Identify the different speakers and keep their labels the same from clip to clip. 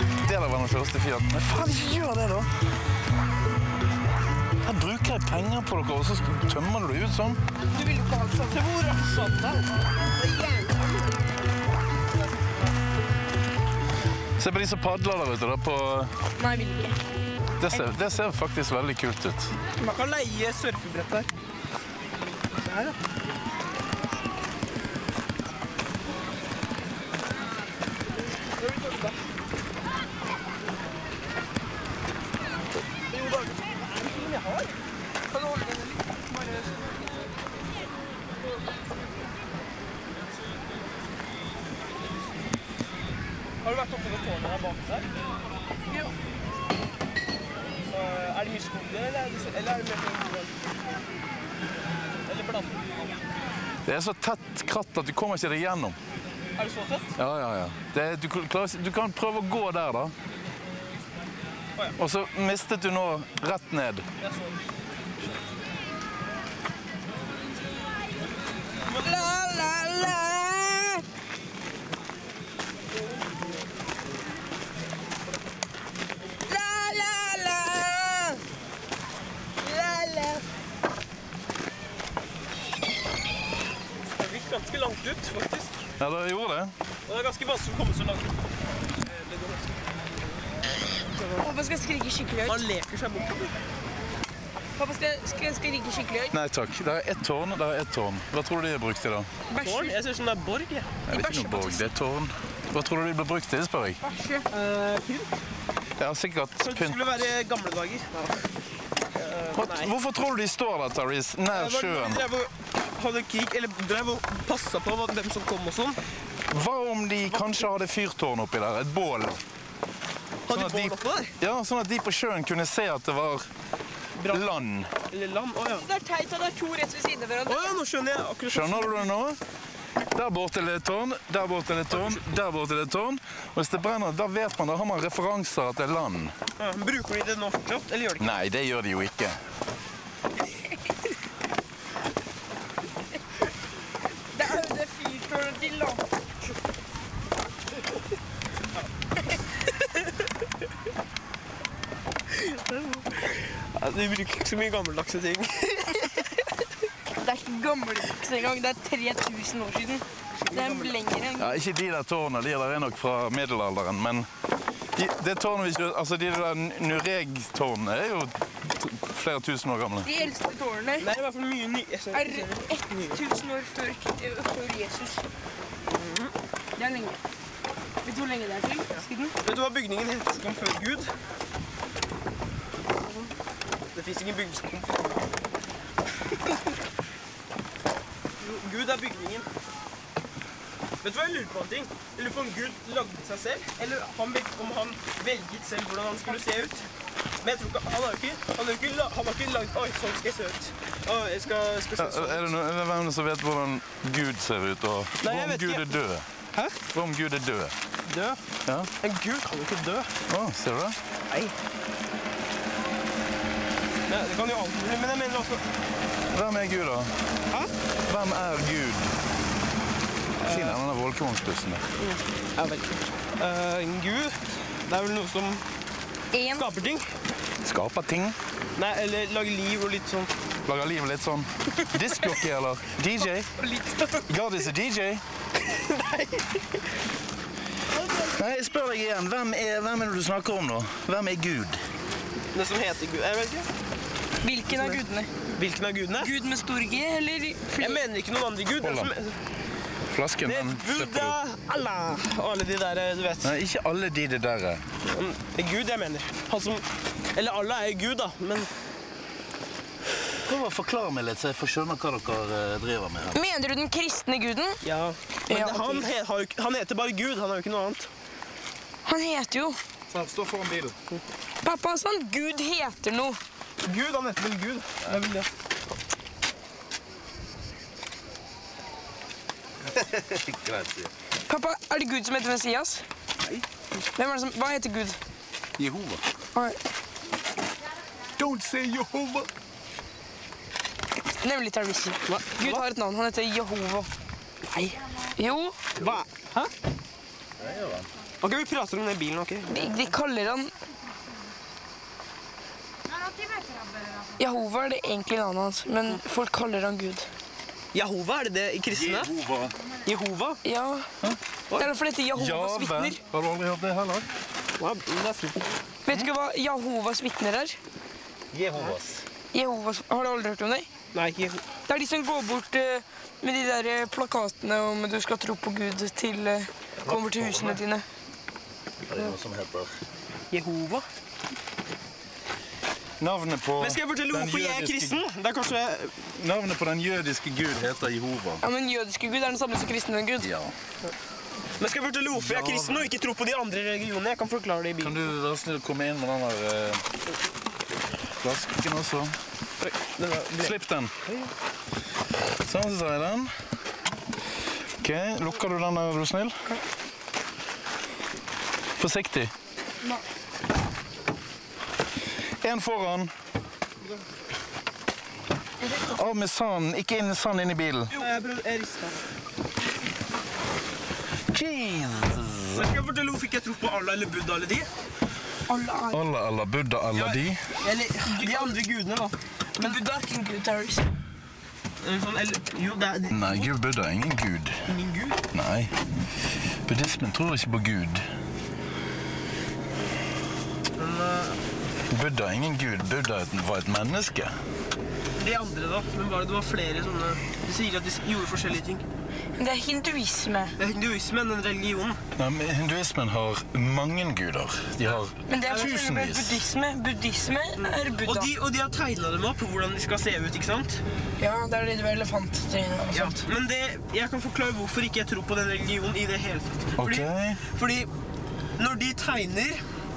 Speaker 1: å kjøreste Fiat. Men faen, gjør det, da! Her bruker jeg penger på dere, og så tømmer du det ut sånn.
Speaker 2: Du vil jo ikke ha alt sånn. Se hvor er sånn da? Det er jævlig.
Speaker 1: Se på de som padler der ute. da, på...
Speaker 2: Nei, jeg vil ikke.
Speaker 1: Det ser, det ser faktisk veldig kult ut.
Speaker 2: Man kan leie surfebrett der. Der, ja. Har du vært oppe på tårnet her bak der? Ja. Så Eh, er det mye skoger, eller er det, eller er det mer sånn Eller blanding?
Speaker 1: Det er så tett kratt at du kommer ikke deg gjennom.
Speaker 2: Er det så tett?
Speaker 1: Ja, ja, ja. Det, er- du, klarer, du kan prøve å gå der, da.
Speaker 2: ja.
Speaker 1: Og så mistet du nå rett ned.
Speaker 2: Jeg så det. La, la, la! La, la, la! La, la! Det gikk ganske langt ut, faktisk.
Speaker 1: Ja, da gjorde det.
Speaker 2: Og det er ganske vanskelig å komme så langt.
Speaker 3: Pappa skal skrike skikkelig høyt.
Speaker 2: Man leker seg bort.
Speaker 3: Pappa skal, skal skrike skikkelig høyt.
Speaker 1: Nei takk. Det er ett tårn, det er ett tårn. Hva tror du de har brukt til, da?
Speaker 2: Tårn?
Speaker 3: Bæsje.
Speaker 2: Jeg ser ut som det er borg. jeg.
Speaker 1: Nei, det er ikke noe borg, det er tårn. Hva tror du de ble brukt til, spør jeg?
Speaker 3: Bæsje.
Speaker 1: Ja, sikkert
Speaker 2: Eh, Så det
Speaker 1: pynt.
Speaker 2: skulle være gamle dager.
Speaker 1: Hva, hvorfor tror du de står der, Therese, nær
Speaker 2: Det var noen
Speaker 1: sjøen?
Speaker 2: som drev og hadde krig, eller drev og passa på hva- hvem som kom og sånn.
Speaker 1: Hva om de kanskje hadde fyrtårn oppi der? Et bål?
Speaker 2: Hadde
Speaker 1: Sånn at
Speaker 2: bål
Speaker 1: de-
Speaker 2: oppå der?
Speaker 1: Ja, sånn at de på sjøen kunne se at det var
Speaker 2: Brann.
Speaker 1: land.
Speaker 2: Eller land? Å ja.
Speaker 3: Det er teit at det er to rett ved siden av
Speaker 2: Å
Speaker 3: hverandre.
Speaker 2: ja, nå skjønner jeg. akkurat sånn.
Speaker 1: Skjønner du det nå? Der borte er det et tårn, der borte er det et tårn, der borte er det et tårn. Og hvis det brenner, da vet man, da har man referanser at det er land.
Speaker 2: Ja, men Bruker de det nå fortsatt, eller gjør de ikke?
Speaker 1: Nei, det gjør de jo ikke.
Speaker 3: Det er jo det fyrtårnet til land.
Speaker 2: Nei, de bruker ikke så mye gammeldagse ting.
Speaker 3: Det er ikke gammeldags engang. Det er 3000 år siden. Det er lenger enn
Speaker 1: Ja, ikke de der tårnene, de der er nok fra middelalderen, men de, det tårnet vi ikke, altså de der Nureg-tårnene er jo t- flere tusen år gamle.
Speaker 3: De eldste tårnene
Speaker 2: Nei, i hvert fall mye ny... Jeg ser-
Speaker 3: er
Speaker 2: jeg ser-
Speaker 3: 1000 år før, eh, før Jesus. Mhm. Det er lenge. Vet du hvor lenge det er til? Siden?
Speaker 2: Vet du hva bygningen heter som kom før Gud? Det fins ingen bygning som kom før Gud. Gud er bygningen. Vet du hva jeg lurer på en ting? Jeg lurer på om Gud lagde seg selv, eller han, vel- om han velget selv hvordan han skulle se ut. Men jeg tror ikke, han har jo ikke, han har jo ikke, la- han har ikke lagd Oi, sånn skal jeg se ut. Å, jeg skal, jeg skal se sånn.
Speaker 1: Er det noen er det hvem som vet hvordan Gud ser ut, og hva
Speaker 2: Nei,
Speaker 1: om
Speaker 2: jeg vet
Speaker 1: Gud
Speaker 2: ikke.
Speaker 1: er død?
Speaker 2: Hæ?
Speaker 1: Hva om Gud er død?
Speaker 2: Død?
Speaker 1: Ja,
Speaker 2: En Gud kan jo ikke dø.
Speaker 1: å, ser du det?
Speaker 2: Nei. Ja, det kan jo alltid Men jeg mener også
Speaker 1: Hvem er Gud da?
Speaker 2: Hæ?
Speaker 1: Hvem er Gud? Fin er den der volkevognstussen der.
Speaker 2: Ja vel. Eh, en gud Det er vel noe som
Speaker 3: En
Speaker 2: skaper ting?
Speaker 1: Skaper ting,
Speaker 2: Nei, eller lager liv og litt sånn.
Speaker 1: lager livet litt sånn. Diskjockey eller DJ? Gardis er DJ. Nei, jeg spør deg igjen. Hvem er, hvem er det du snakker om nå? Hvem er Gud?
Speaker 2: Det som heter gud Jeg vet ikke.
Speaker 3: Hvilken av gudene?
Speaker 2: Hvilken av gudene?
Speaker 3: Gud med stor G, eller
Speaker 2: Jeg
Speaker 3: flere?
Speaker 2: mener ikke noen andre gud.
Speaker 1: Hold
Speaker 2: men
Speaker 1: da.
Speaker 2: som-
Speaker 1: Flasken,
Speaker 2: Det er
Speaker 1: den slipper
Speaker 2: Buddha,
Speaker 1: du.
Speaker 2: Allah og alle de der, eh, du vet.
Speaker 1: Nei, ikke alle de det der er.
Speaker 2: Mm, Det er gud jeg mener. Han som Eller Allah er jo gud, da, men
Speaker 1: Prøv å forklare meg litt, så jeg får skjønne hva dere eh, driver med her.
Speaker 3: Mener du den kristne guden?
Speaker 2: Ja. Men
Speaker 3: Ja,
Speaker 2: det, han, he, har jo, ikke- han heter bare Gud, han er jo ikke noe annet.
Speaker 3: Han heter jo
Speaker 1: Stå foran bilen.
Speaker 3: Pappa sa han Gud heter noe.
Speaker 2: Gud, han heter vel Gud. Det er vel det.
Speaker 1: Greit, sier
Speaker 3: Pappa, er det Gud som heter Messias? Nei. Hvem er det som, hva heter Gud?
Speaker 1: Jehova.
Speaker 3: Oi.
Speaker 1: Don't say Jehova.
Speaker 3: Nemlig terroristen. Gud har et navn. Han heter Jehova. Nei. Jo.
Speaker 2: Hva? Hæ? Ok, vi prater om den bilen, ok?
Speaker 3: Vi, vi kaller han Jehova er det egentlig navnet hans, men folk kaller han Gud.
Speaker 2: Jehova, er det det i kristne?
Speaker 1: Jehova.
Speaker 2: Jehova?
Speaker 3: Ja. Det er derfor det heter Jehovas
Speaker 1: Jave.
Speaker 3: vitner.
Speaker 1: Har du aldri hørt det heller?
Speaker 2: Hva? Det er fint.
Speaker 3: Vet du ikke hva Jehovas vitner er?
Speaker 4: Jehovas.
Speaker 3: Jehovas, har du aldri hørt om det?
Speaker 2: Nei, ikke
Speaker 3: Det er de som går bort eh, med de der eh, plakatene om du skal tro på Gud til eh, kommer til husene dine.
Speaker 4: Er det noe som heter
Speaker 2: Jehova.
Speaker 1: Navnet på
Speaker 2: Men skal jeg fortelle
Speaker 1: den
Speaker 2: hvorfor jeg er
Speaker 1: jødiske-
Speaker 2: kristen? Det er kanskje...
Speaker 1: Navnet på den jødiske gud heter Jehova.
Speaker 3: Ja, men jødiske Gud er den samme som kristne Gud.
Speaker 1: Ja.
Speaker 2: Men skal jeg fortelle hvorfor jeg er kristen og ikke tror på de andre religionene? Jeg kan forklare det i bilen.
Speaker 1: Kan du være snill å komme inn med den der eh, flasken også?
Speaker 2: Oi, den var- den-
Speaker 1: Slipp den. Sånn, så tar jeg den. Ok, Lukker du den der, er du snill? Forsiktig. En foran. Av med sanden. Ikke inn sand inn i bilen.
Speaker 2: Jo, Jeg prøvde, jeg ristet.
Speaker 1: Jesus.
Speaker 2: Så skal jeg fortelle hvorfor ikke jeg tror på Allah eller Buddha eller de?
Speaker 1: Allah, Allah, Buddha, Allah, de.
Speaker 2: Eller de andre gudene, da.
Speaker 3: Men Gud er ikke en gud, Darius.
Speaker 2: Eller Sånn, eller, jo, det er
Speaker 1: Nei, Gud, Buddha er ingen gud.
Speaker 2: min gud.
Speaker 1: Nei. Buddhismen tror ikke på Gud.
Speaker 2: eh,
Speaker 1: Buddha er ingen gud. Buddha var et menneske.
Speaker 2: De andre, da. Men bare det var flere sånne De sier at de s- gjorde forskjellige ting.
Speaker 3: Men det er hinduisme.
Speaker 2: Det er hinduismen, den religionen.
Speaker 1: Nei, men Hinduismen har mange guder. De har
Speaker 3: Men det er forskjellig med
Speaker 1: tusenvis.
Speaker 3: buddhisme. Buddhisme er
Speaker 2: Og
Speaker 3: Buddha.
Speaker 2: de, og de har tegna dem opp, hvordan de skal se ut, ikke sant?
Speaker 3: Ja, det er det med elefanttegnet og
Speaker 2: Ja.
Speaker 3: sånt.
Speaker 2: Men det, jeg kan forklare hvorfor ikke jeg tror på den religionen i det hele tatt. Fordi,
Speaker 1: Ok.
Speaker 2: fordi når de tegner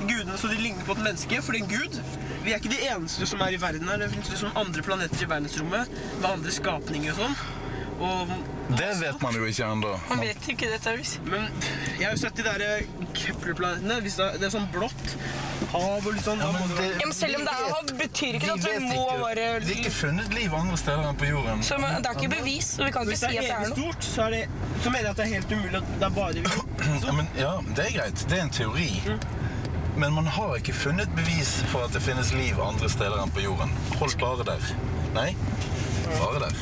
Speaker 2: gudene så de ligner på et menneske, fordi en gud Vi er ikke de eneste som er i verden her. Det finnes liksom andre planeter i verdensrommet med andre skapninger og sånn. Og,
Speaker 1: Det vet man jo ikke ennå.
Speaker 3: Man vet ikke det, Darius.
Speaker 2: men jeg har jo sett de der eh, Kepler-planetene. hvis Det er- det er sånn blått hav og litt sånn. da må det være-
Speaker 3: Ja, men selv om det er hav, betyr ikke det at det må være
Speaker 1: Det er ikke funnet liv andre steder enn på jorden.
Speaker 3: Så men, Det er ikke bevis, så vi kan ikke
Speaker 2: Hvis
Speaker 3: si
Speaker 2: det
Speaker 3: at det
Speaker 2: er
Speaker 3: er noe.
Speaker 2: stort, så, er det, så mener jeg at det er helt umulig at det er bare vi.
Speaker 1: Ja, men, ja, det er greit. Det er en teori.
Speaker 3: Mm.
Speaker 1: Men man har ikke funnet bevis for at det finnes liv andre steder enn på jorden. Hold bare der. Nei, bare der.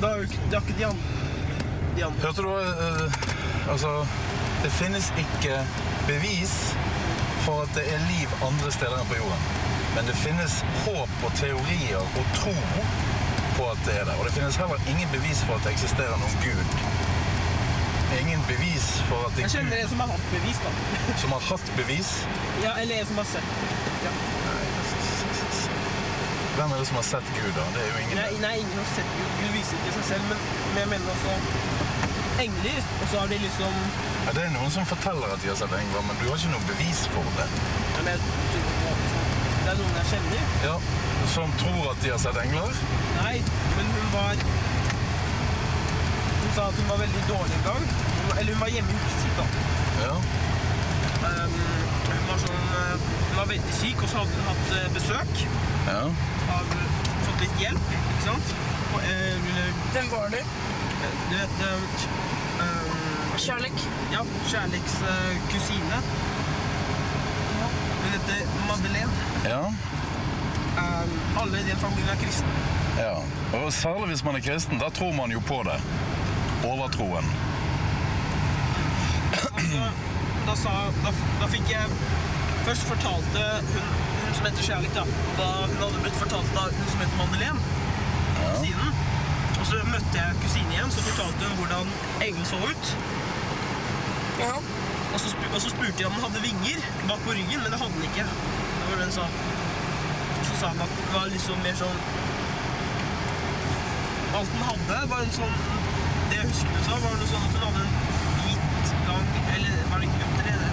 Speaker 2: Da er jo ikke, det er ikke de andre. De andre.
Speaker 1: Hørte du eh, Altså, det finnes ikke bevis for at det er liv andre steder enn på jorden. Men det finnes håp og teorier og tro på at det er det. Og det finnes heller ingen bevis for at det eksisterer noen gud. Ingen bevis for at det
Speaker 2: Jeg
Speaker 1: er
Speaker 2: kjenner en som har hatt bevis, da.
Speaker 1: Gud som har hatt bevis.
Speaker 2: Ja, eller en som har sett.
Speaker 1: Hvem er det som har sett Gud, da? Det er jo
Speaker 2: Nei,
Speaker 1: ingen.
Speaker 2: nei ingen har sett Gud. Gud viser ikke seg selv, men, men jeg mener også engler. Og så har de liksom
Speaker 1: Ja, det er noen som forteller at de har sett engler, men du har ikke noe bevis for det.
Speaker 2: ja, men jeg tror ikke på det. Det er noen jeg kjenner.
Speaker 1: Ja, Som tror at de har sett engler?
Speaker 2: Nei, men hun var Hun sa at hun var veldig dårlig en gang. Hun- Eller hun var hjemme i huset sitt, da.
Speaker 1: Ja.
Speaker 2: Um, hun var sånn eh, Hun var veldig syk, og så hadde hun hatt eh, besøk.
Speaker 1: ja.
Speaker 2: Har fått litt hjelp, ikke sant? Og, eh, ville-
Speaker 3: Hvem var det?
Speaker 2: du vet eh, eh,
Speaker 3: Kjærlek.
Speaker 2: Ja, kjærlighets eh, kusine. Hun heter Madeleine.
Speaker 1: ja.
Speaker 2: Um, alle i den familien er kristne.
Speaker 1: Ja, og Særlig hvis man er kristen. Da tror man jo på det. Overtroen.
Speaker 2: Altså, da, sa, da, f- da fikk jeg Først fortalte hun, hun som heter Kjærlighet, da, da hun hadde blitt fortalt av hun som heter Madeleine. Kusinen. Og så møtte jeg kusinen igjen, så fortalte hun hvordan engelen så ut.
Speaker 3: Ja.
Speaker 2: Og så, spu- og så spurte jeg om den hadde vinger bak på ryggen, men det hadde den ikke. Det var det hun sa. Så sa han at det var liksom mer sånn Alt den hadde, var en sånn Det jeg husker hun sa, var noe sånn at hun hadde en hvit, lang Eller var det en gutt eller det?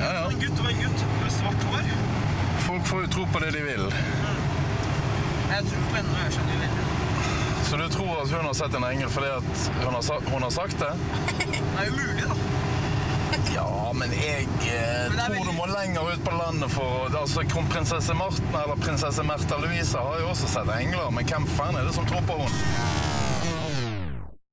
Speaker 1: Ja, ja.
Speaker 2: En gutt det var en gutt med svart hår.
Speaker 1: Folk får jo tro på det de vil.
Speaker 2: Jeg tror på henne, og jeg skjønner jo veldig
Speaker 1: Så du tror at hun har sett en engel fordi at hun har, sa- hun har sagt det?
Speaker 2: Det er jo mulig, da.
Speaker 1: Ja, men jeg eh,
Speaker 2: Men det er
Speaker 1: tror du
Speaker 2: veldig-
Speaker 1: må lenger ut på landet for altså, Kronprinsesse Marten eller prinsesse Märtha Louise har jo også sett engler, men hvem faen er det som tror på henne?